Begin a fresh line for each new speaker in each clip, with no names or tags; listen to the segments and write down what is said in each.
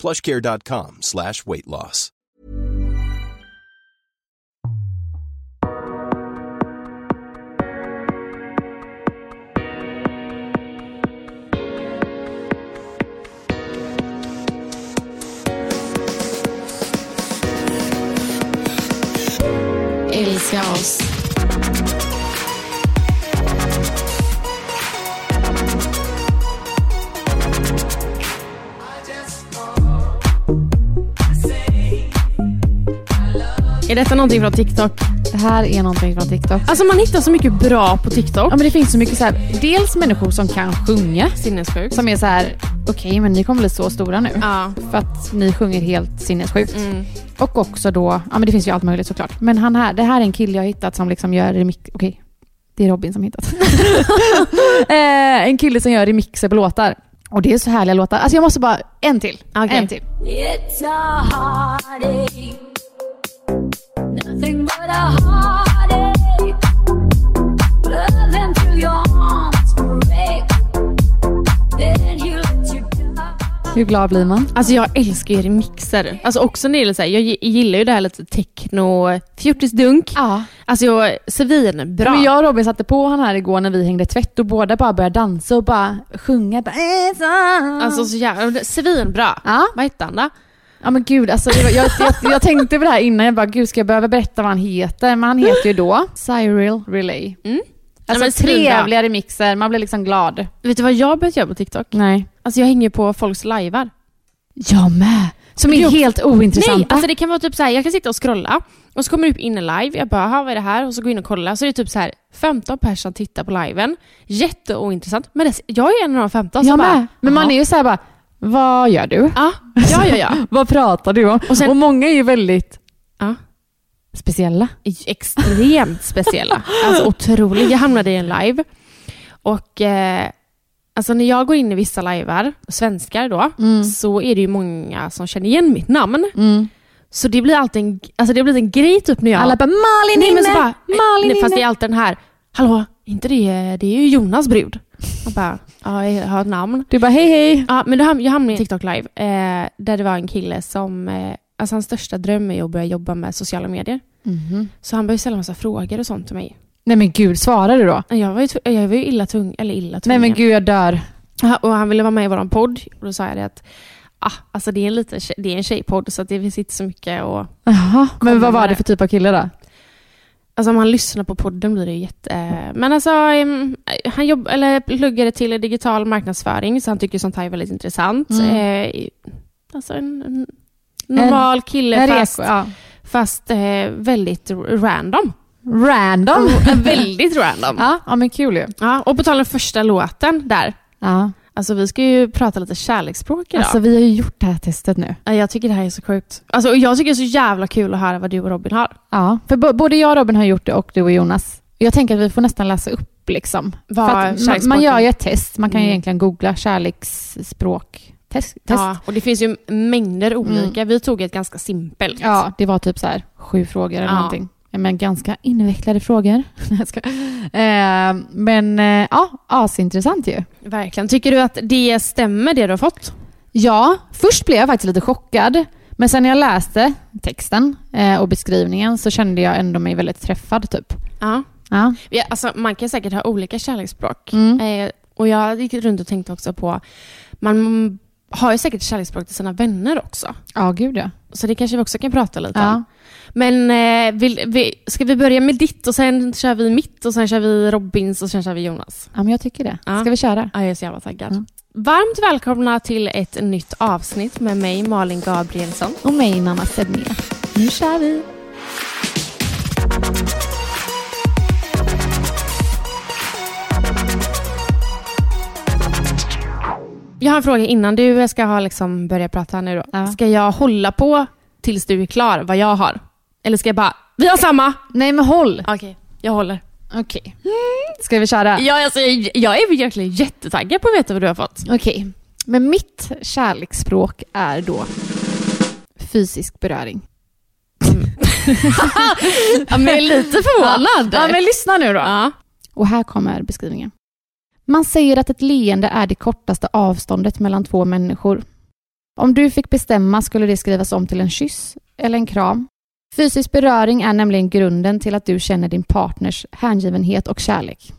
Plushcare.com slash weight loss.
Älska oss.
Är detta någonting från TikTok?
Det här är någonting från TikTok.
Alltså man hittar så mycket bra på TikTok.
Ja, men det finns så mycket så här, dels människor som kan sjunga,
Sinnessjukt.
som är så här, okej men ni kommer bli så stora nu.
Ja. Mm.
För att ni sjunger helt sinnessjukt. Och också då, ja men det finns ju allt möjligt såklart. Men han här, det här är en kille jag har hittat som liksom gör remix, okej det är Robin som har hittat. eh, en kille som gör remixer på låtar. Och det är så härliga låtar. Alltså jag måste bara, en till.
Okej.
En till.
It's a heartache. Nothing but a heartache. Loving through your arms break. Then he lets you down.
Hur glad blir man?
Alltså jag älskar ju remixer. Alltså också när det gäller så här, jag gi- gillar ju det här lite techno, fjortisdunk.
Ja.
Alltså jag, svinbra.
Men jag och Robin satte på han här igår när vi hängde tvätt och båda bara började dansa och bara sjunga. Bara, "Äh, "It's on."
Alltså så jävla, svinbra.
Ja.
Vad hette han då?
ja men gud, alltså, det var, jag, jag, jag tänkte på det här innan. Jag bara, gud ska jag behöva berätta vad han heter? Men han heter ju då Cyril Relay.
Mm.
Alltså
men svinbra.
trevliga remixer, man blir liksom glad.
Vet du vad jag har börjat göra på TikTok?
Nej.
Alltså jag hänger ju på folks lajvar.
Jag med. Som är
Jag-
helt ointressanta.
Nej, alltså det kan vara typ så här, jag kan sitta och scrolla och så kommer det upp in en live. Jag bara, "Aha, vad är det här? Och så går jag in och kollar. Så är det typ så här, 15 personer som tittar på liven. Jätteointressant. Men det, jag är en av de 15. så
jag
alltså, bara,
med. Men man
"Jaha."
är ju så här bara, vad gör du?
Ja, ja, ja. ja.
vad pratar du om?
Och
Och,
sen-
många är ju väldigt
Ja.
speciella.
extremt speciella. Alltså otroligt. Jag hamnade i en live. Och eh, alltså när jag går in i vissa livear, svenskar då,
Mm.
så är det ju många som känner igen mitt namn. Så det blir alltid en, alltså det blir en grej typ när jag...
Alla bara, Malin
nej, men så
inne!
bara,
Malin
nej, Fast det
inne!
är alltid den här, hallå, inte det, det är ju Jonas brud. Och bara, ja, jag har ett namn.
Du bara, hej hej.
Ja, men då ham- jag hamnade i TikTok live, eh, där det var en kille som, eh, alltså hans största dröm är att börja jobba med sociala medier. Så han började ställa massa frågor och sånt till mig.
Nej men gud, svarar du då?
Jag var ju, tv- jag var ju illa tung, eller illa
Nej
tvungen.
men gud, jag dör.
Ja, Och han ville vara med i vår podd. Och då sa jag det att ah, alltså det, är en liten tjej, det är en tjejpodd så att det finns inte så mycket och
Jaha, men vad var
med
det
det.
för typ av kille då?
Alltså om han lyssnar på podden blir det ju jätte... eh, Men alltså, em, han jobb, eller pluggade till digital marknadsföring så han tycker sånt här är väldigt intressant.
Mm.
Eh, i- alltså en, en normal kille
En
fast,
reko- ja.
fast eh, väldigt random. eh,
Random.
väldigt random.
ja, ja, men kul ju.
Ja, och på tal om första låten där.
Ja.
Alltså vi ska ju prata lite kärleksspråk idag.
Alltså vi har ju gjort det här testet nu.
Ja, Jag tycker det här är så sjukt. Alltså, och jag tycker det är så jävla kul att höra vad du och Robin har.
Ja, för bo- både jag och Robin har gjort det och du och Jonas. Jag tänker att vi får nästan läsa upp liksom.
Vad
För att man,
kärleksspråken-
man gör ju ett test. Man kan ju
Mm.
egentligen googla kärleksspråk. Test. test. Ja.
Ja, och det finns ju mängder olika. Vi tog ett ganska simpelt.
det var typ så här sju frågor eller
Ja.
någonting. Men ganska invecklade frågor. Nej, jag skojar. eh, men eh, ja, asintressant ju.
Verkligen. Tycker du att det stämmer det du har fått?
Ja, först blev jag faktiskt lite chockad. Men sen när jag läste texten eh, och beskrivningen så kände jag ändå mig väldigt träffad typ.
Ja.
Ja.
ja alltså, man kan säkert ha olika kärleksspråk.
Mm.
Eh, och jag gick runt och tänkte också på, man har ju säkert kärleksspråk till sina vänner också.
Ja, gud ja.
Så det kanske vi också kan prata lite om.
ja.
Men eh, vill, vi, ska vi börja med ditt och sen kör vi mitt och sen kör vi Robins och sen kör vi Jonas?
Ja, men jag tycker det.
Ja.
Ska vi köra?
Ja, jag är så jävla taggad.
Mm.
Varmt välkomna till ett nytt avsnitt med mig Malin Gabrielsson.
Och mig, Nanna Sedmér. Nu kör vi.
Jag har en fråga innan du ska ha liksom börja prata nu. Då.
Ja.
Ska jag hålla på tills du är klar vad jag har? Eller ska jag bara, vi har samma!
Nej, men håll.
Okej, jag håller.
Okej. Ska vi köra?
Ja, alltså, jag, jag är verkligen jättetaggad på att veta vad du har fått.
Okej. Men mitt kärleksspråk är då fysisk beröring.
Ja, men jag är lite förvånad.
Ja, men
lyssna nu då.
Och här kommer beskrivningen. Man säger att ett leende är det kortaste avståndet mellan två människor. Om du fick bestämma skulle det skrivas om till en kyss eller en kram. Fysisk beröring är nämligen grunden till att du känner din partners hängivenhet och kärlek.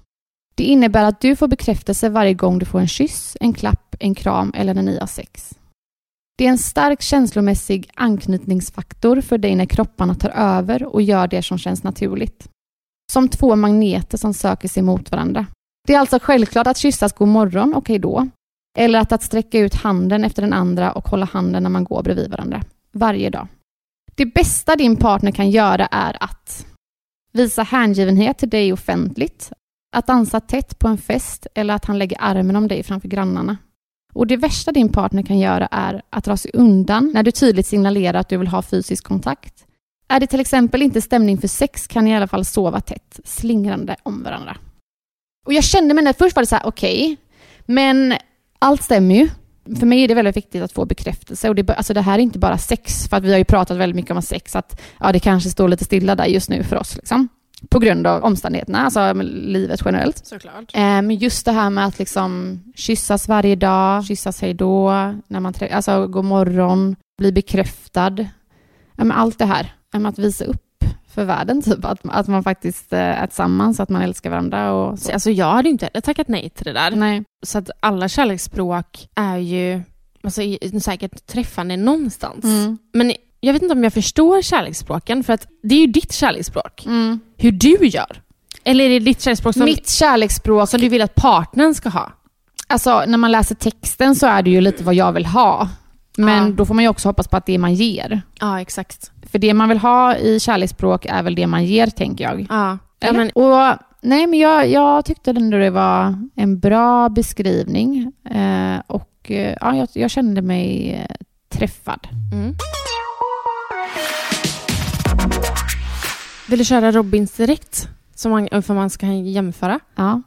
Det innebär att du får bekräftelse varje gång du får en kyss, en klapp, en kram eller när ni har sex. Det är en stark känslomässig anknytningsfaktor för dig när kropparna tar över och gör det som känns naturligt som två magneter som söker sig mot varandra. Det är alltså självklart att kyssas god morgon och hej då, eller att, att sträcka ut handen efter den andra och hålla handen när man går bredvid varandra, varje dag. Det bästa din partner kan göra är att visa hängivenhet till dig offentligt, att dansa tätt på en fest eller att han lägger armen om dig framför grannarna. Och det värsta din partner kan göra är att dra sig undan när du tydligt signalerar att du vill ha fysisk kontakt, är det till exempel inte stämning för sex kan ni i alla fall sova tätt, slingrande om varandra. Och jag kände mig när först var det så här, okej, men allt stämmer ju. För mig är det väldigt viktigt att få bekräftelse. Och det, är bara- alltså det här är inte bara sex, för att vi har ju pratat väldigt mycket om sex, att ja, det kanske står lite stilla där just nu för oss. Liksom. På grund av omständigheterna, alltså med livet generellt.
Såklart.
Eh, Men just det här med att liksom kyssas varje dag, kyssas hej då, när man trä- alltså god morgon, bli bekräftad. Ja, men Allt det här, Ja, men att visa upp för världen, typ. att, att man faktiskt eh, är tillsammans, att man älskar varandra. Och så.
Alltså, jag hade ju inte heller tackat nej till det där.
Nej.
Så att alla kärleksspråk är ju alltså, i- säkert träffande någonstans.
Mm,
Men jag vet inte om jag förstår kärleksspråken, för att det är ju ditt kärleksspråk.
Mm.
Hur du gör. Eller är det ditt kärleksspråk som,
Mitt kärleksspråk,
som du vill att partnern ska ha?
alltså, när man läser texten så är det ju lite vad jag vill ha. Men
Ja.
då får man ju också hoppas på att det man ger.
Ja, exakt.
För det man vill ha i kärleksspråk är väl det man ger, tänker jag.
Ja.
Ja,
men,
men, och, nej, men jag, jag tyckte ändå det var en bra beskrivning. Eh, och eh, ja, jag, jag kände mig eh, träffad.
mm. Vill du köra Robins direkt? Som man, eh, för man ska jämföra.
Ja.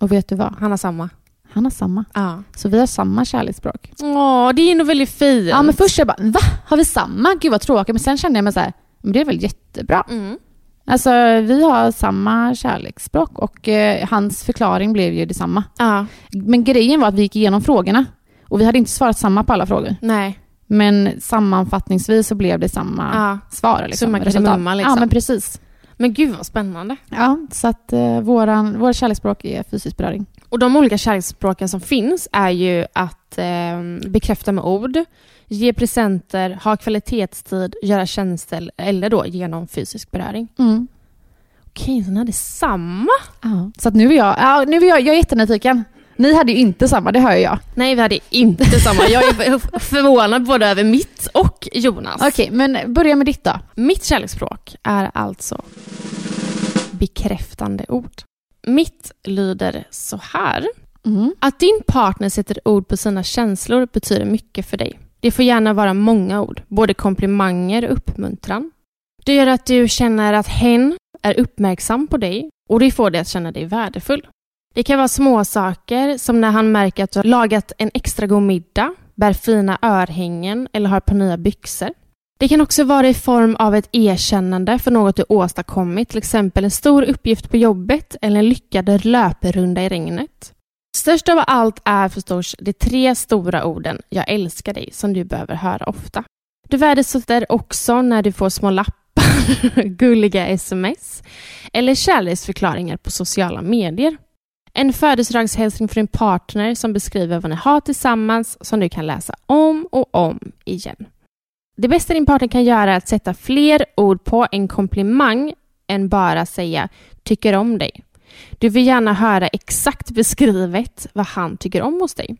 Och vet du vad?
Han har samma.
Han har samma.
Ja.
Så vi har samma kärleksspråk.
Åh, det är nog väldigt fint.
Ja, men först jag bara, va? Har vi samma? Gud vad tråkigt. Men sen kände jag mig så här, men det är väl jättebra.
Mm.
Alltså, vi har samma kärleksspråk och eh, hans förklaring blev ju detsamma.
Ja,
Men grejen var att vi gick igenom frågorna och vi hade inte svarat samma på alla frågor.
nej.
Men sammanfattningsvis så blev det samma
Ja.
svar. Liksom,
Summa
resultat.
kardemumma, liksom.
Ja, men precis.
Men gud vad spännande.
Ja, så att eh, våran, vår kärleksspråk är fysisk beröring.
Och de olika kärleksspråken som finns är ju att eh, bekräfta med ord, ge presenter, ha kvalitetstid, göra tjänster eller då genom fysisk beröring.
Mm.
Okej, så ni hade samma?
Ja. Så att nu är jag, ja, nu är jag, jag är jättenyfiken. Ni hade ju inte samma, det hör ju jag.
Nej, vi hade inte samma. Jag är f- förvånad både över mitt och Jonas.
Okej, men börja med ditt då.
Mitt kärleksspråk är alltså bekräftande ord. Mitt lyder så här.
Mm.
Att din partner sätter ord på sina känslor betyder mycket för dig. Det får gärna vara många ord, både komplimanger och uppmuntran. Det gör att du känner att hen är uppmärksam på dig och det får dig att känna dig värdefull. Det kan vara små saker som när han märker att du har lagat en extra god middag, bär fina örhängen eller har ett par nya byxor. Det kan också vara i form av ett erkännande för något du åstadkommit, till exempel en stor uppgift på jobbet eller en lyckad löprunda i regnet. Störst av allt är förstås de tre stora orden ”Jag älskar dig” som du behöver höra ofta. Du värdesätter också när du får små lappar, gulliga sms eller kärleksförklaringar på sociala medier. En födelsedagshälsning från din partner som beskriver vad ni har tillsammans som du kan läsa om och om igen. Det bästa din partner kan göra är att sätta fler ord på en komplimang än bara säga “tycker om dig”. Du vill gärna höra exakt beskrivet vad han tycker om hos dig.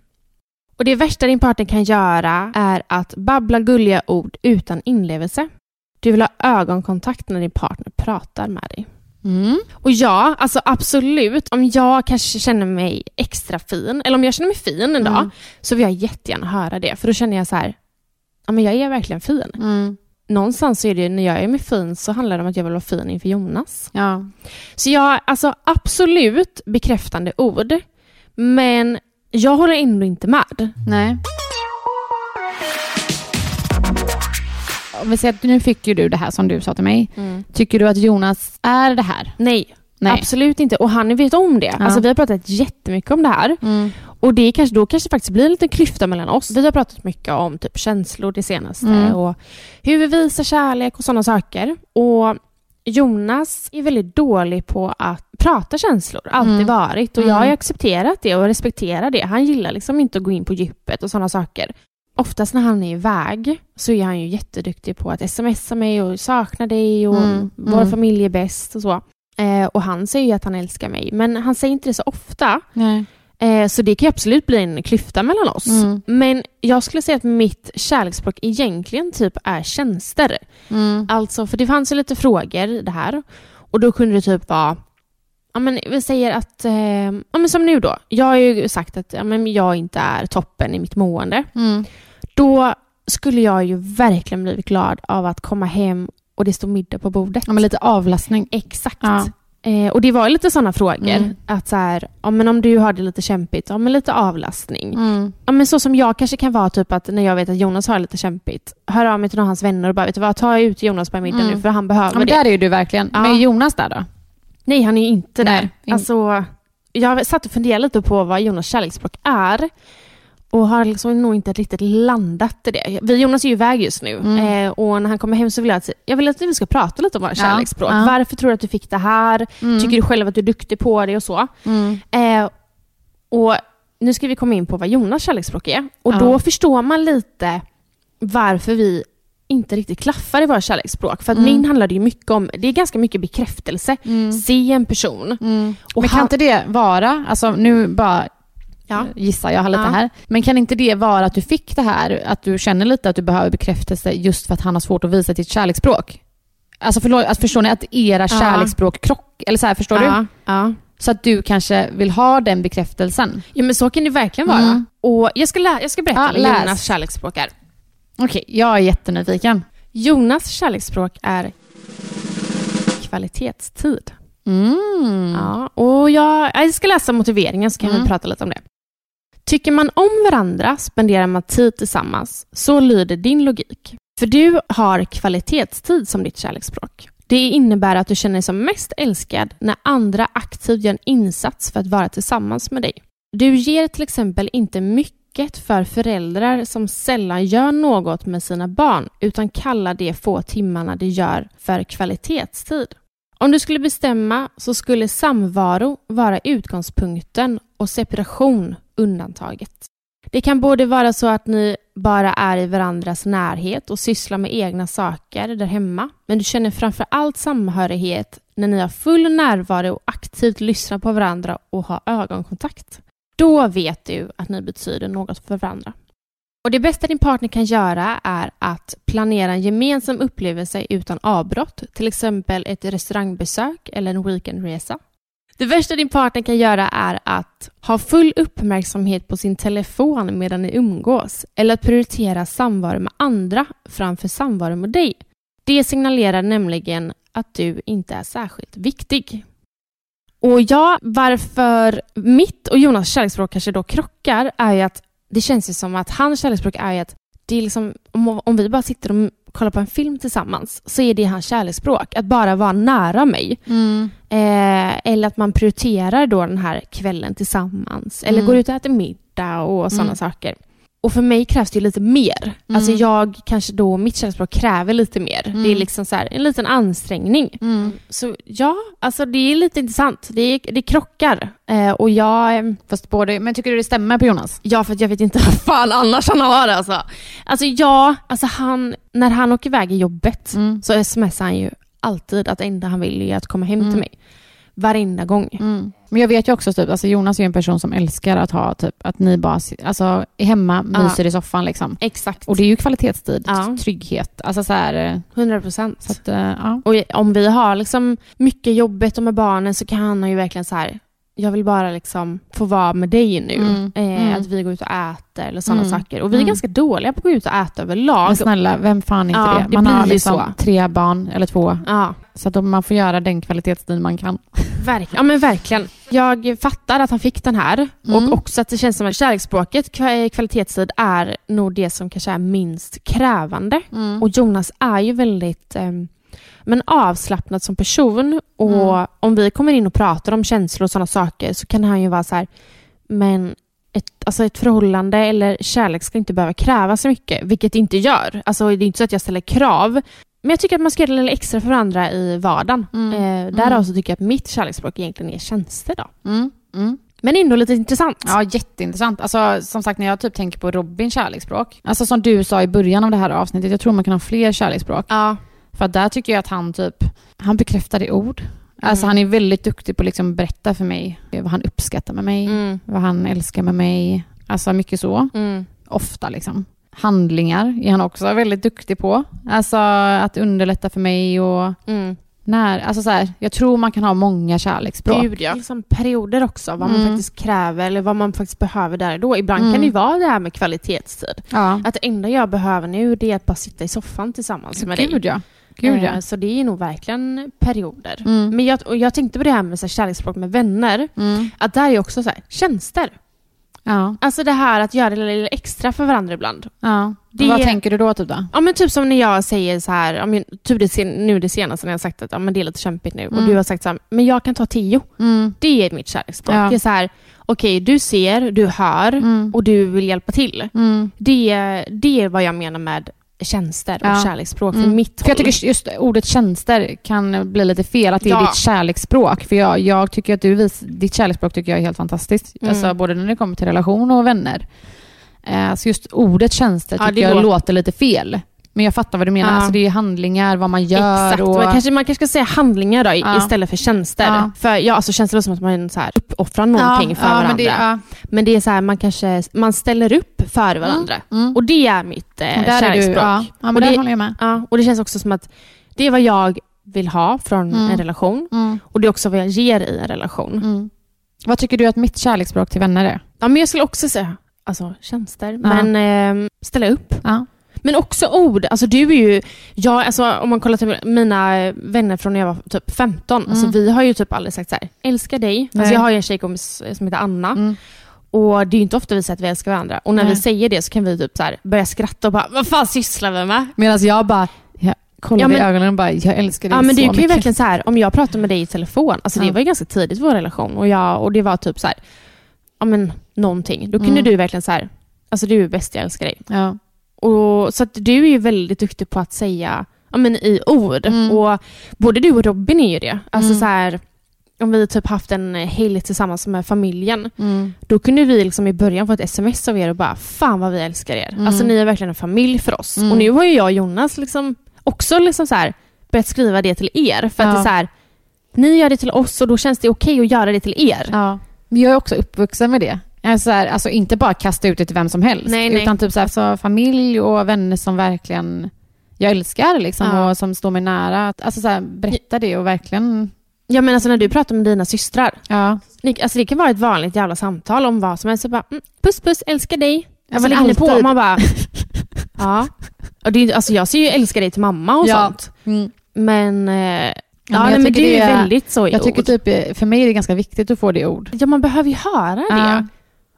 Och Det värsta din partner kan göra är att babbla gulliga ord utan inlevelse. Du vill ha ögonkontakt när din partner pratar med dig.
Mm.
Och ja, alltså absolut. Om jag kanske känner mig extra fin, eller om jag känner mig fin en dag,
Mm.
så vill jag jättegärna höra det. För då känner jag så här, ja men jag är verkligen fin.
Mm.
Någonstans så är det ju, när jag är med fin så handlar det om att jag vill vara fin inför Jonas.
Ja.
Så jag, alltså absolut bekräftande ord, men jag håller ändå inte med.
Nej. Om vi säger att nu fick ju du det här som du sa till mig. Tycker du att Jonas är det här?
Nej,
Nej.
absolut inte. Och han vet om det.
Ja.
Alltså vi har pratat jättemycket om det här.
Mm.
Och det är kanske, då kanske det faktiskt blir en liten klyfta mellan oss. Vi har pratat mycket om typ känslor det senaste
Mm.
och hur vi visar kärlek och sådana saker. Och Jonas är väldigt dålig på att prata känslor, alltid
Mm.
varit. Och jag har
Mm.
ju accepterat det och respekterar det. Han gillar liksom inte att gå in på djupet och sådana saker. Oftast när han är iväg så är han ju jätteduktig på att smsa mig och sakna dig och
Mm.
vår
Mm.
familj är bäst och så. Eh, och han säger ju att han älskar mig, men han säger inte det så ofta.
Nej.
Eh, Så det kan ju absolut bli en klyfta mellan oss.
Mm.
Men jag skulle säga att mitt kärleksspråk egentligen typ är tjänster.
Mm.
Alltså, för det fanns ju lite frågor i det här. Och då kunde det typ vara, ja men vi säger att, eh, ja men som nu då. Jag har ju sagt att ja, men jag inte är toppen i mitt mående.
Mm.
Då skulle jag ju verkligen blivit glad av att komma hem och det stod middag på bordet.
Ja, men lite avlastning.
Exakt.
Ja.
Eh, och det var ju lite sådana frågor.
Mm.
Att så här, ja, men om du har det lite kämpigt, ja, men lite avlastning.
Mm.
Ja, men så som jag kanske kan vara typ att när jag vet att Jonas har det lite kämpigt. Hör av mig till någon av hans vänner och bara, vet du vad, ta ut Jonas på middag
Mm.
nu för han behöver
Ja, men
det.
där är ju du verkligen.
Ja.
Men är Jonas där då?
Nej, han är ju inte där.
Nej, in-
Alltså, jag satt och funderade lite på vad Jonas kärleksspråk är. Och har liksom nog inte riktigt landat i det. Vi och Jonas är ju iväg just nu.
Mm.
Eh, och när han kommer hem så vill jag att, jag vill att vi ska prata lite om våra
Ja,
kärleksspråk.
ja.
Varför tror du att du fick det här?
Mm.
Tycker du själv att du är duktig på det och så?
Mm.
Eh, och nu ska vi komma in på vad Jonas kärleksspråk är. Och
Ja.
då förstår man lite varför vi inte riktigt klaffar i våra kärleksspråk. För att
Mm.
min handlar det ju mycket om, det är ganska mycket bekräftelse. Se en person. Och
Mm. men kan
han-
inte det vara, alltså nu bara
Ja.
gissar jag lite
Ja.
här, men kan inte det vara att du fick det här, att du känner lite att du behöver bekräftelse just för att han har svårt att visa ditt kärleksspråk? Alltså förlåt, alltså förstår ni att era kärleksspråk krock, eller så här, förstår du?
ja, Ja.
Så att du kanske vill ha den bekräftelsen.
ja, men så kan det verkligen vara.
Mm.
Och jag ska, lä- jag ska berätta
Ja,
vad
läs.
Jonas kärleksspråk är.
Okej, jag är jättenyfiken.
Jonas kärleksspråk är kvalitetstid.
Mm.
Ja, och jag, jag ska läsa motiveringen så kan
Mm.
vi prata lite om det. Tycker man om varandra spenderar man tid tillsammans. Så lyder din logik. För du har kvalitetstid som ditt kärleksspråk. Det innebär att du känner dig som mest älskad när andra aktivt gör en insats för att vara tillsammans med dig. Du ger till exempel inte mycket för föräldrar som sällan gör något med sina barn utan kallar de få timmarna de gör för kvalitetstid. Om du skulle bestämma så skulle samvaro vara utgångspunkten och separation undantaget. Det kan både vara så att ni bara är i varandras närhet och sysslar med egna saker där hemma, men du känner framför allt samhörighet när ni har full närvaro och aktivt lyssnar på varandra och har ögonkontakt. Då vet du att ni betyder något för varandra. Och Det bästa din partner kan göra är att planera en gemensam upplevelse utan avbrott, till exempel ett restaurangbesök eller en weekendresa. Det värsta din partner kan göra är att ha full uppmärksamhet på sin telefon medan ni umgås eller att prioritera samvaro med andra framför samvaro med dig. Det signalerar nämligen att du inte är särskilt viktig. Och ja, varför mitt och Jonas kärleksspråk kanske då krockar är ju att det känns ju som att hans kärleksspråk är ju att det är liksom, om, om vi bara sitter och kollar på en film tillsammans så är det hans kärleksspråk. Att bara vara nära mig.
Mm.
Eh, eller att man prioriterar då den här kvällen tillsammans. Eller
Mm.
går ut och äter middag och sådana
Mm.
saker. Och för mig krävs det ju lite mer. Alltså jag kanske då, mitt kärleksspråk kräver lite mer.
Mm.
Det är liksom så här, en liten ansträngning. Så ja, alltså det är lite intressant. Det, är, det krockar. Eh, och jag... ehm,
Fast både, men tycker du det stämmer på Jonas?
Ja, för att jag vet inte vad fan annars han har alltså. Alltså ja, alltså han, när han åker iväg i jobbet
Mm.
så smsar han ju alltid att det enda han vill är att komma hem
Mm.
till mig. Varenda gång.
Men jag vet ju också, typ, alltså Jonas är ju en person som älskar att ha typ, att ni bara si- alltså, är hemma,
Ja.
myser i soffan liksom.
Exakt.
Och det är ju kvalitetstid,
Ja.
trygghet. Alltså så här, eh,
100 procent.
så att, eh, ja.
Och om vi har liksom mycket jobbet och med barnen så kan han ju verkligen så här. jag vill bara liksom få vara med dig nu.
Mm.
Eh,
Mm.
Att vi går ut och äter eller sådana
Mm.
saker. Och vi är
Mm.
ganska dåliga på att gå ut och äta
Men
överlag.
snälla, vem fan är inte
Ja,
det?
det
Man
blir
har
ju
liksom
så.
tre barn, eller två.
Ja,
Så att man får göra den kvalitetstid man kan.
verk- ja, men verkligen. Jag fattar att han fick den här.
Mm.
Och också att det känns som att kärleksspråket, kva- eh, kvalitetstid, är nog det som kanske är minst krävande. Och Jonas är ju väldigt ehm, men avslappnad som person. Och om vi kommer in och pratar om känslor och sådana saker så kan han ju vara så här, men ett, alltså ett förhållande eller kärlek ska inte behöva kräva så mycket, vilket det inte gör. Alltså det är inte så att jag ställer krav. Men jag tycker att man ska göra lite extra för varandra i vardagen.
Mm.
Eh, därav så tycker jag att mitt kärleksspråk egentligen är tjänster. Då.
Mm. Mm.
Men ändå lite intressant.
Ja, jätteintressant. Alltså, som sagt, när jag typ tänker på Robins kärleksspråk. Alltså som du sa i början av det här avsnittet, jag tror man kan ha fler kärleksspråk.
Ja.
För att där tycker jag att han typ, han bekräftar det i ord. Alltså han är väldigt duktig på att liksom berätta för mig vad han uppskattar med mig,
Mm.
vad han älskar med mig. Alltså mycket så.
Mm.
Ofta liksom. Handlingar är han också väldigt duktig på. Alltså att underlätta för mig och
Mm.
när, alltså så här, jag tror man kan ha många kärleksspråk.
Gud, ja. Liksom perioder också, vad man
Mm.
faktiskt kräver eller vad man faktiskt behöver där och då. Ibland
Mm.
kan det ju vara det här med kvalitetstid.
Ja.
Att det enda jag behöver nu det är att bara sitta i soffan tillsammans med dig.
Gud ja. Gud
Eh,
ja.
Så det är nog verkligen perioder.
Mm.
Men jag, och jag tänkte på det här med så här, kärleksspråk med vänner.
Mm.
Att där är ju också så här, tjänster.
Ja.
Alltså det här att göra det lite extra för varandra ibland.
ja.
Det-
Vad tänker du då typ då?
Ja men typ som när jag säger så här, ja, men typ det sen, nu det senaste när jag har sagt att ja, men det är lite kämpigt nu och du har sagt så här, men jag kan ta tio.
Mm.
Det är mitt kärleksspråk.
Ja.
Det är så här, okej du ser, du hör
Mm.
och du vill hjälpa till.
Mm.
Det, det är vad jag menar med tjänster och
Ja.
kärleksspråk för
Mm.
mitt
För jag
håll.
tycker just ordet tjänster kan bli lite fel, att det är
Ja.
ditt kärleksspråk. För jag, jag tycker att du vis, ditt kärleksspråk tycker jag är helt fantastiskt.
Mm.
Alltså både när det kommer till relation och vänner. Eh, så just ordet tjänster
Ja,
tycker
det
jag
låter-
låter lite fel. Men jag fattar vad du menar.
Ja.
Alltså det är ju handlingar, vad man gör
Exakt,
och...
man, kanske, man kanske ska säga handlingar då, i-
Ja.
istället för tjänster.
Ja.
För ja, alltså, känns det låter som att man så här, uppoffrar någonting för varandra.
Men det, ja.
Men det är så här, man kanske man ställer upp för varandra.
Mm.
Och det är mitt eh,
Och där är du,
kärleksspråk.
ja. ja, men
Och
där
det-
håller jag med.
Ja, och det känns också som att det är vad jag vill ha från
Mm.
en relation
Mm.
och det är också vad jag ger i en relation.
Mm. Vad tycker du att mitt kärleksspråk till vänner är?
Ja, men jag skulle också säga alltså, tjänster,
Ja.
men ehm, ställa upp.
Ja.
Men också ord. Alltså, du är ju, jag, alltså, om man kollar till mina vänner från när jag var typ 15, alltså,
Mm.
vi har ju typ aldrig sagt så här, älskar dig.
Nej.
Alltså, jag har ju en tjejkompis som heter Anna.
Mm.
Och Det är ju inte ofta vi säger att vi älskar varandra. Och när
Nej.
vi säger det så kan vi typ så här börja skratta och bara, vad fan sysslar vi med?
Medan jag bara jag kollar
Ja, men-
i ögonen och bara, jag älskar dig
Ja, men det
så
kan ju
mycket.
verkligen så här, om jag pratar med dig i telefon, alltså
Ja.
det var ju ganska tidigt i vår relation och, jag, och det var typ så här, ja men någonting. Då kunde
Mm.
du verkligen så här, alltså du är bäst, jag älskar dig.
Ja.
Och, så att du är ju väldigt duktig på att säga ja, men i ord.
Mm.
Och både du och Robin är ju det. Alltså
Mm.
så här, om vi typ haft en helg tillsammans med familjen,
Mm.
då kunde vi liksom i början få ett sms av er och bara “Fan vad vi älskar er”.
Mm.
Alltså ni är verkligen en familj för oss.
Mm.
Och nu har ju jag och Jonas liksom också liksom så här börjat skriva det till er. För att
Ja.
det är så här, ni gör det till oss och då känns det okej att göra det till er.
Ja. Men jag är också uppvuxen med det. Alltså, så här, alltså inte bara kasta ut det till vem som helst.
Nej, nej.
Utan typ så här, alltså, familj och vänner som verkligen jag älskar liksom,
Ja.
och som står mig nära. Alltså så här, berätta det och verkligen...
Ja men alltså när du pratar med dina systrar,
Ja.
ni- alltså det kan vara ett vanligt jävla samtal om vad som helst. Så bara, mm, puss puss, älskar dig.
Ja,
Alltså
men typ-
ligger ni på
alltid.
och man bara, ja. Och det, är ju- alltså jag säger ju älskar dig till mamma och
Ja.
sånt.
Mm.
Men, eh, ja,
jag
nej, men
tycker
det är
det
ju
är-
väldigt så i
Jag tycker
ord.
typ, för mig är det ganska viktigt att få det i ord.
Ja, man behöver ju höra
Ja.
det.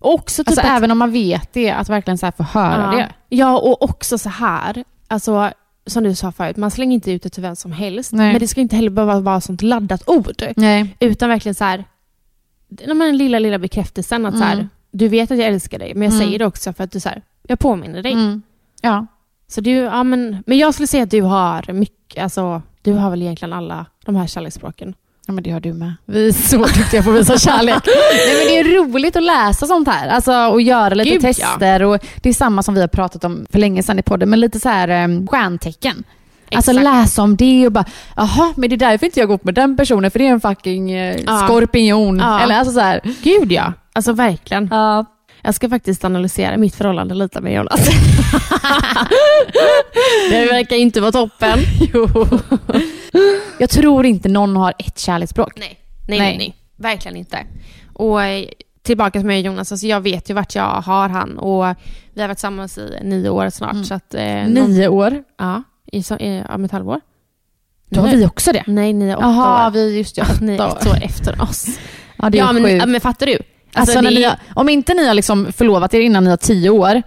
Och också typ
Alltså,
att,
Även om man vet det, att verkligen så här, få höra
ja.
det.
Ja, och också så här. Alltså, som du sa förut, man slänger inte ut det till vem som helst.
Nej.
Men det ska inte heller behöva vara sånt laddat ord.
Nej.
Utan verkligen så här, den lilla, lilla bekräftelsen att så
Mm.
här, du vet att jag älskar dig, men jag
Mm.
säger det också för att du så här, Jag påminner dig.
Mm. Ja.
Så du, ja, men, men jag skulle säga att du har mycket, alltså, du har väl egentligen alla de här kärleksspråken.
ja, men det har du med. Vi är så duktiga på att visa kärlek. Nej, men det är roligt att läsa sånt här alltså, och göra lite
Gud, ja.
tester. Och det är samma som vi har pratat om för länge sedan i podden, men lite så här um, stjärntecken. Alltså
Exakt.
läsa om det och bara, jaha, men det är därför inte jag går med den personen, för det är en fucking eh,
Ja.
skorpion.
Ja.
Eller alltså så här.
Gud ja, alltså verkligen.
Ja.
Jag ska faktiskt analysera mitt förhållande lite med Jonas. det verkar inte vara toppen. Jo.
Jag tror inte någon har ett kärleksspråk.
Nej, nej, nej, nej. Verkligen inte. Och eh, tillbaka till mig och Jonas, alltså jag vet ju vart jag har han och vi har varit tillsammans i nio år snart. Så att, eh, någon-
Mm. Nio år.
ja, i, så- i, om ett halvår.
Då har
Nej.
vi också det.
Nej, ni är åtta
Jaha,
år.
vi, just det.
Ni är
åtta år.
ett år efter oss.
Ja, det är
ja, men,
sjukt.
ja, men fattar du?
Alltså, när
det
ni
är-
har, om inte ni har liksom förlovat er innan ni har tio år,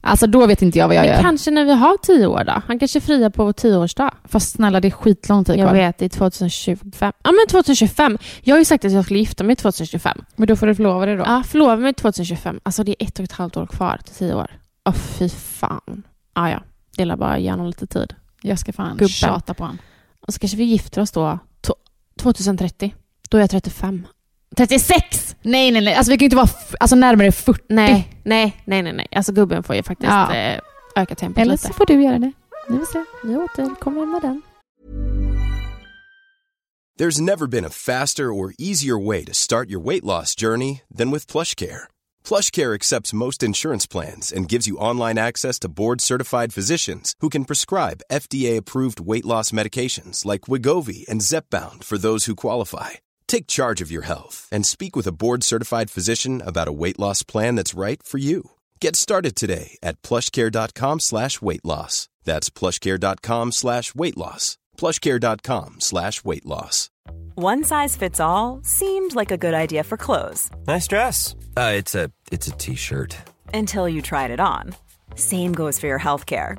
alltså då vet inte jag vad jag
Men
gör.
kanske när vi har tio år då? Han kanske friar på vår tioårsdag.
Fast snälla, det är skitlång tid
Jag
kvar.
vet, det är 2025. Ja men 2025. Jag har ju sagt att jag skulle gifta mig 2025.
Men då får du förlova dig då.
Ja, förlova mig 2025. Alltså det är ett och ett halvt år kvar till tio år. Åh fy fan. Ja, ja. Det är bara att ge honom lite tid.
Jag ska fan
Gubben.
tjata på honom.
Och så kanske vi gifter oss då to- 2030. Då är jag 35. 36!
Nej, nej, nej. Alltså, vi kan ju inte vara f- alltså, närmare 40.
Nej, nej, nej, nej, nej. Alltså gubben får ju faktiskt
Ja.
eh, öka tempot
Eller
lite.
så får du göra det. Vi får se.
Vi återkommer med den.
There's never been a faster or easier way to start your weight loss journey than with PlushCare. PlushCare accepts most insurance plans and gives you online access to board-certified physicians who can prescribe FDA-approved weight loss medications like Wigovi and Zepbound for those who qualify. Take charge of your health and speak with a board-certified physician about a weight loss plan that's right for you. Get started today at plushcare.com slash weight loss. That's plushcare.com slash weight loss. plushcare.com slash weight loss.
One size fits all seemed like a good idea for clothes
Nice dress. Uh, it's a it's a t-shirt.
until you tried it on. Same goes for your healthcare.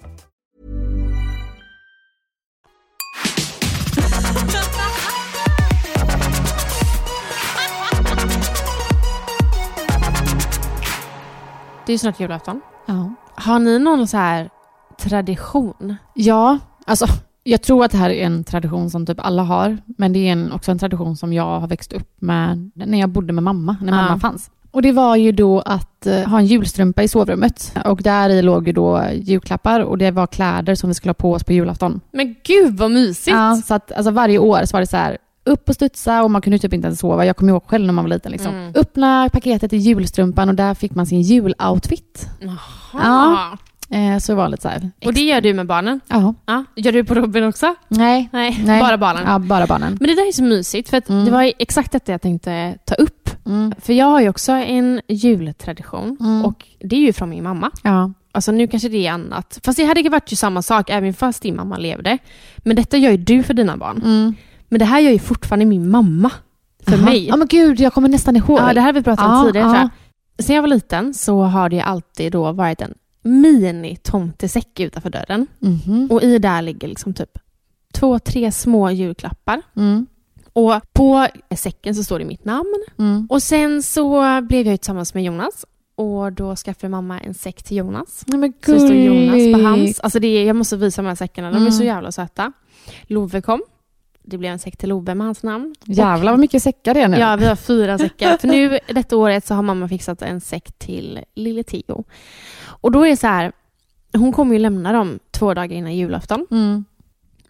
Det är ju snart julafton.
Ja.
Har ni någon så här tradition?
ja, alltså jag tror att det här är en tradition som typ alla har. Men det är en, också en tradition som jag har växt upp med när jag bodde med mamma, när
Ja.
mamma fanns. Och det var ju då att eh, ha en julstrumpa i sovrummet. Och där i låg ju då julklappar och det var kläder som vi skulle ha på oss på julafton.
Men gud vad mysigt!
Ja, så att, alltså, varje år så var det så här, upp och studsa och man kunde typ inte ens sova. Jag kommer ihåg själv när man var liten. Liksom.
Mm.
Öppna paketet i julstrumpan och där fick man sin juloutfit.
Ja.
Eh, så det var lite så här.
Och det gör du med barnen?
Ja.
Ja. Gör du på Robin också?
Nej.
Nej,
Nej.
bara barnen.
Ja, bara barnen.
Men det där är så mysigt, för att
Mm.
det var ju exakt detta jag tänkte ta upp.
Mm.
För jag har ju också en jultradition
Mm.
och det är ju från min mamma.
Ja.
Alltså nu kanske det är annat. Fast det hade ju varit ju samma sak även fast din mamma levde. Men detta gör ju du för dina barn.
Mm.
Men det här gör ju fortfarande min mamma för
Aha.
mig.
Ja, men gud, jag kommer nästan ihåg.
Ja, det här har vi pratat om
Ja,
tidigare.
ja.
tror jag. Sen jag var liten så har det ju alltid då varit en mini-tomtesäck utanför dörren.
Mhm.
Och i där ligger liksom typ två, tre små julklappar.
Mm.
Och på säcken så står det mitt namn.
Mm.
Och sen så blev jag ju tillsammans med Jonas. Och då skaffade mamma en säck till Jonas.
Nej, men
Så det står Jonas
gulligt.
på hans. Alltså det är, jag måste visa de här säckarna, de är
Mm.
så jävla söta. Love kom. Det blev en säck till Love med hans namn.
Jävlar vad mycket säckar det är nu.
Ja, vi har fyra säckar. För nu detta året så har mamma fixat en säck till lille Theo. Och då är det så här, hon kommer ju lämna dem två dagar innan julafton.
Mm.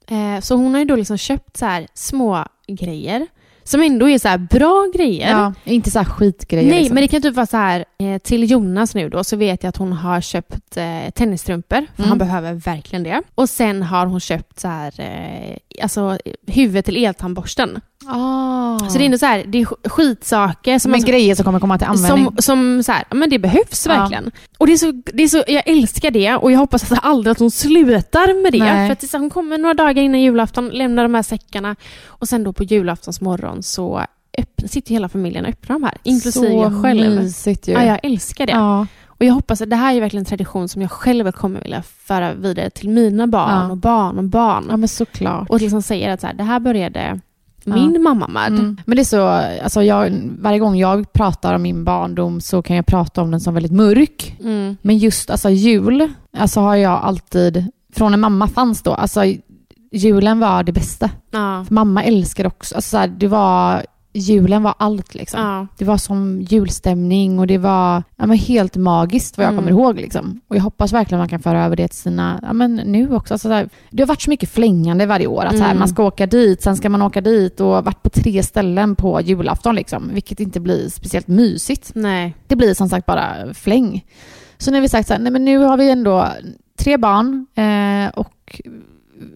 Eh, så hon har ju då liksom köpt så här små grejer som ändå är så här bra grejer.
Ja, inte så här skitgrejer.
Nej,
liksom.
men det kan typ vara så här eh, till Jonas nu då så vet jag att hon har köpt eh, tennisstrumpor, för
Mm.
han behöver verkligen det. Och sen har hon köpt så här, eh, alltså huvudet till eltandborsten.
Ah.
Så det är ändå så här, det är sk- skitsaker som
som en
man
grejer som kommer komma till användning.
som, som så här, ja, men det behövs
Ja.
verkligen. Och det är så, det är så, jag älskar det och jag hoppas att aldrig att hon slutar med det.
Nej.
För att det är så här, hon kommer några dagar innan julafton, lämnar de här säckarna och sen då på julaftons morgon så öppna, sitter hela familjen och öppnar de här. Inklusive jag
Så
själv.
mysigt ju.
Ja, jag älskar det.
Ja.
Och jag hoppas att det här är verkligen en tradition som jag själv kommer vilja föra vidare till mina barn
Ja.
och barn och barn.
ja, men såklart.
Och liksom säger att så här, det här började
Ja.
min mamma med.
Mm. Men det är så, alltså jag, varje gång jag pratar om min barndom så kan jag prata om den som väldigt mörk.
Mm.
Men just alltså, jul, alltså har jag alltid, från när mamma fanns då, alltså julen var det bästa.
Ja.
För mamma älskade också, alltså, så här, det var, julen var allt liksom.
Ja.
Det var som julstämning och det var ja, men helt magiskt vad jag
Mm.
kommer ihåg. Liksom. Och jag hoppas verkligen man kan föra över det till sina, ja, men nu också. Alltså, så här, det har varit så mycket flängande varje år. Att, så här,
Mm.
man ska åka dit, sen ska man åka dit och varit på tre ställen på julafton. Liksom, vilket inte blir speciellt mysigt.
Nej.
Det blir som sagt bara fläng. Så nu har vi sagt så här, nej men nu har vi ändå tre barn eh, och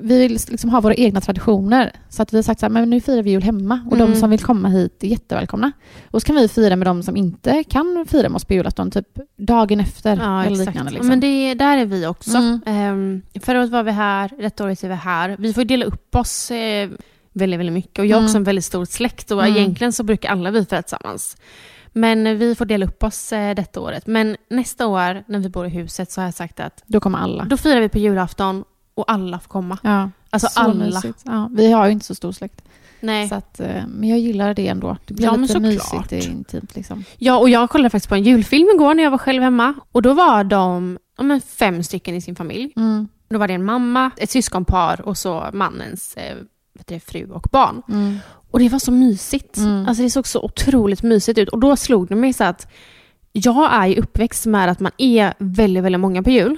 vi vill liksom ha våra egna traditioner. Så att vi har sagt så här, men nu firar vi jul hemma och
Mm.
de som vill komma hit är jättevälkomna. Och så kan vi fira med de som inte kan fira med oss på julafton, typ dagen efter
Ja,
eller
exakt.
liknande.
Men
Liksom.
det, där är vi också.
Mm.
Ehm, förra året var vi här, detta året är vi här. Vi får ju dela upp oss eh, väldigt, väldigt mycket. Och jag har
Mm.
också en väldigt stor släkt och
Mm.
egentligen så brukar alla vi fira tillsammans. Men vi får dela upp oss eh, detta året. Men nästa år när vi bor i huset så har jag sagt att
Då kommer alla.
då firar vi på julafton och alla får komma.
Ja,
Alltså
så
alla.
mysigt. Ja, vi har ju inte så stor släkt.
Nej.
Så att, eh, men jag gillar det ändå. Det blir
Ja, men
lite
såklart.
mysigt, det är intimt. Liksom.
Ja, och jag kollade faktiskt på en julfilm igår när jag var själv hemma. Och då var de ja, men fem stycken i sin familj.
Mm,
Då var det en mamma, ett syskonpar och så mannens eh, vet du, fru och barn.
mm,
Och det var så mysigt.
Mm.
Alltså det såg så otroligt mysigt ut. Och då slog det mig så att jag är ju uppväxt med att man är väldigt, väldigt många på jul.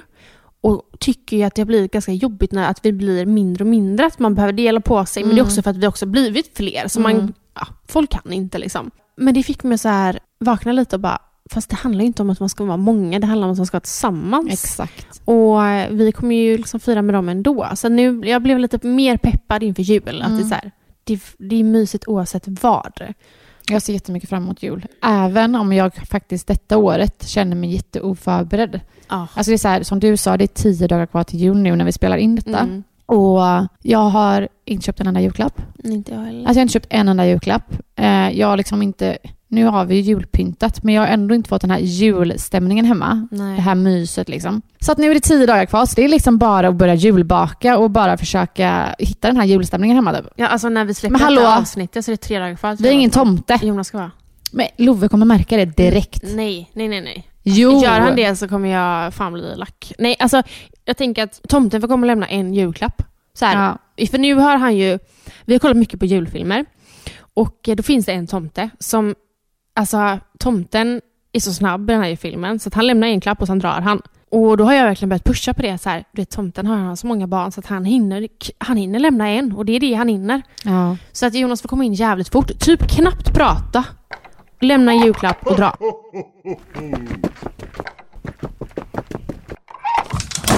Och tycker ju att det har blivit ganska jobbigt när att vi blir mindre och mindre, att man behöver dela på sig. Men det är också för att vi också blivit fler. Så man,
Mm.
ja, folk kan inte liksom. Men det fick mig så här vakna lite och bara, fast det handlar ju inte om att man ska vara många, det handlar om att man ska vara tillsammans.
exakt.
Och eh, vi kommer ju liksom fira med dem ändå. Så nu, jag blev lite mer peppad inför jul. Att det, är så här, det, det är mysigt oavsett vad.
Jag ser jättemycket fram emot jul. Även om jag faktiskt detta året känner mig jätteoförberedd.
Ja.
Alltså det är så här, som du sa, det är tio dagar kvar till jul nu när vi spelar in detta.
Mm.
Och jag har inte köpt en enda julklapp.
Inte jag heller.
Alltså jag har inte köpt en enda julklapp. Eh, jag har liksom inte, nu har vi ju julpyntat, men jag har ändå inte fått den här julstämningen hemma. Det
Nej.
här myset liksom. Så att nu är det tio dagar kvar, så det är liksom bara att börja julbaka och bara försöka hitta den här julstämningen hemma. Typ.
Ja, alltså när vi släpper
Men hallå!
det här avsnittet så är det tre dagar kvar.
Vi är ingen tomte.
Jonas ska vara.
Men Love kommer märka det direkt.
Nej, nej, nej. nej.
Jo!
Mm. Gör han det så kommer jag fan bli lack. Nej, alltså jag tänker att tomten får komma och lämna en julklapp. Så här,
Ja.
För nu har han ju, vi har kollat mycket på julfilmer och eh, då finns det en tomte som, alltså tomten är så snabb i den här filmen så att han lämnar en klapp och sen drar han. Och då har jag verkligen börjat pusha på det så här, du vet tomten har han så många barn så att han hinner, han hinner lämna en och det är det han hinner.
Ja.
Så att Jonas får komma in jävligt fort, typ knappt prata, lämna en julklapp och dra.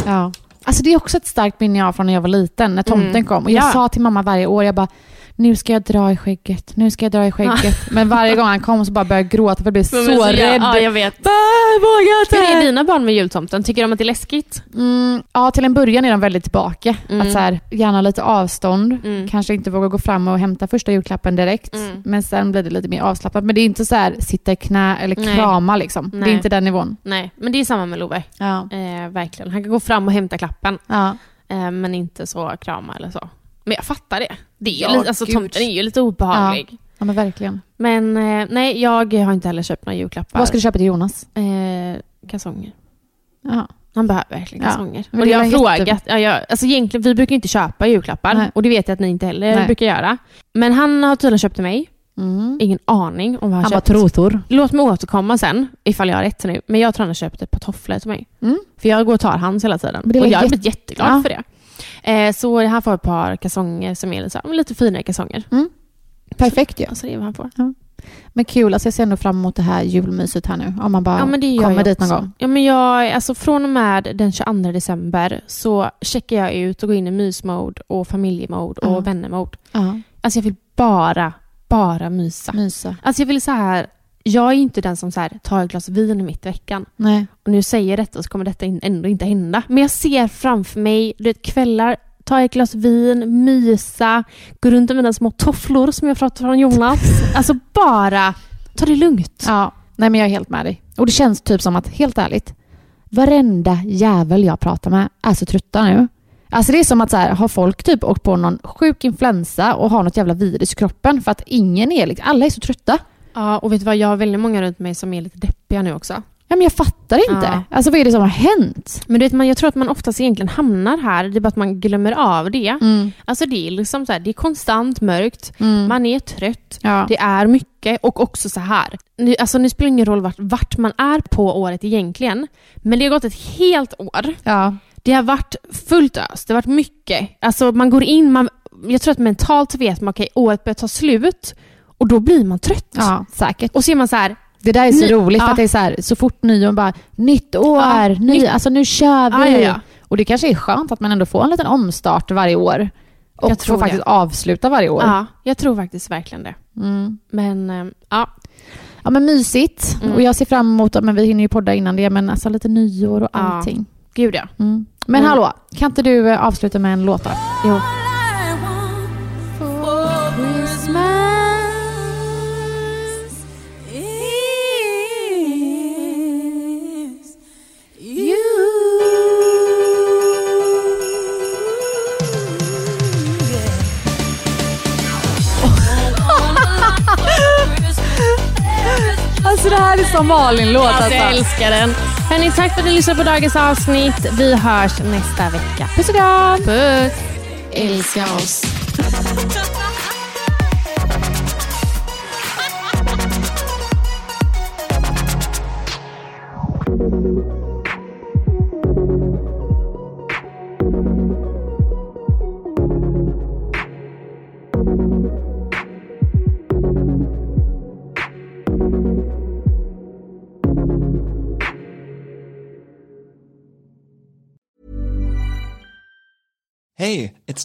Ja. Alltså det är också ett starkt minne jag har från när jag var liten, när tomten
Mm.
kom. Och jag
Ja.
sa till mamma varje år, jag bara, nu ska jag dra i skägget, nu ska jag dra i skägget. Men varje gång han kom så bara började jag gråta för jag blev så, rädd.
Ja, jag vet.
Äh, vågar inte.
Hur är dina barn med jultomten? Tycker de att det är läskigt?
Mm, ja, till en början är de väldigt tillbaka.
Mm.
Att så här, gärna lite avstånd.
Mm.
Kanske inte våga gå fram och hämta första julklappen direkt.
Mm.
Men sen blir det lite mer avslappnat. Men det är inte så här sitta i knä eller
Nej.
krama liksom. Det
Nej.
är inte den nivån.
Nej, men det är samma med Love.
Ja.
Eh, verkligen. Han kan gå fram och hämta klappen,
Ja.
eh, men inte så krama eller så. Men jag fattar det. det är ju
Ja,
lite, alltså,
gud.
tomten är ju lite obehaglig.
ja, men verkligen.
Men eh, nej, jag har inte heller köpt några julklappar.
Vad ska du köpa till Jonas?
eh, kalsonger.
Ja.
Han behöver verkligen
Ja,
kalsonger.
men
och
det
jag
var
har
jätte-
frågat. Ja, jag, alltså egentligen, vi brukar inte köpa julklappar
Nej.
och det vet jag att ni inte heller
Nej.
brukar göra. Men han har tydligen köpt till mig.
Mm.
Ingen aning om vad han,
Han bara
köpt.
trotor.
Låt mig återkomma sen ifall jag har rätt nu. Men jag tror han har köpt ett par tofflor till mig.
Mm.
För jag går och tar hans hela tiden.
Men det
och
var
jag har
jätte-
blivit jätteglad
Ja.
för det. Eh, så han får ett par kalsonger som är lite, så här, men lite finare kalsonger.
Perfekt ju.
Alltså det är vad han får.
Men kul, alltså jag ser ändå fram emot det här julmyset här nu. Om man bara
Ja, men det gör
kommer
jag
dit någon
också.
gång.
Ja, men jag, alltså från och med den 22 december så checkar jag ut och går in i mysmode och familjemode och
Ja.
vännermode.
Ja,
Alltså jag vill bara, bara mysa.
mysa.
Alltså jag vill så här, jag är inte den som så här, tar ett glas vin mitt i veckan.
Nej.
Och nu säger jag detta så kommer detta in, ändå inte hända. Men jag ser framför mig, du vet kvällar, ta ett glas vin, mysa, gå runt i mina små tofflor som jag fått från Jonas. Alltså bara ta det lugnt.
Ja, nej men jag är helt med dig. Och det känns typ som att, helt ärligt, varenda jävel jag pratar med är så trötta nu. Alltså det är som att så här, har folk typ åkt på någon sjuk influensa och har något jävla virus i kroppen för att ingen är liksom, alla är så trötta.
Ja, och vet du vad? Jag har väldigt många runt mig som är lite deppiga nu också.
Ja, men jag fattar inte.
Ja.
Alltså vad är det som har hänt?
Men du vet, man, jag tror att man oftast egentligen hamnar här. Det är bara att man glömmer av det.
Mm,
Alltså det är liksom så här, det är konstant mörkt. Man är trött.
Ja.
Det är mycket och också så här. Nu, alltså nu spelar det ingen roll vart, vart man är på året egentligen. Men det har gått ett helt år.
Ja.
Det har varit fullt ös. Det har varit mycket. Alltså man går in, man, jag tror att mentalt vet man okej, året börjar ta slut. Och då blir man trött.
ja, säkert.
Och så är man så här,
Det där är så
Ny-
roligt för
ja.
att det är så, här, så fort nyår bara, nytt år,
Ja,
ny,
nytt-
alltså nu kör vi.
Ja, ja, ja.
Och det kanske är skönt att man ändå får en liten omstart varje år. Och
Jag tror
får
det.
faktiskt avsluta varje år.
ja, jag tror faktiskt verkligen det.
Mm.
Men ehm, ja,
Ja men mysigt.
Mm.
Och jag ser fram emot, men vi hinner ju podda innan det, men alltså lite nyår och
Ja.
allting.
gud ja.
Mm. Men
Mm.
hallå, kan inte du eh, avsluta med en låt då?
Jo.
Alltså det här är som Malin-låt
Alltså, jag älskar den. Hörni, tack för att ni lyssnade på dagens avsnitt. Vi hörs nästa vecka. Puss och kram! Puss! Älska oss.
Hey, it's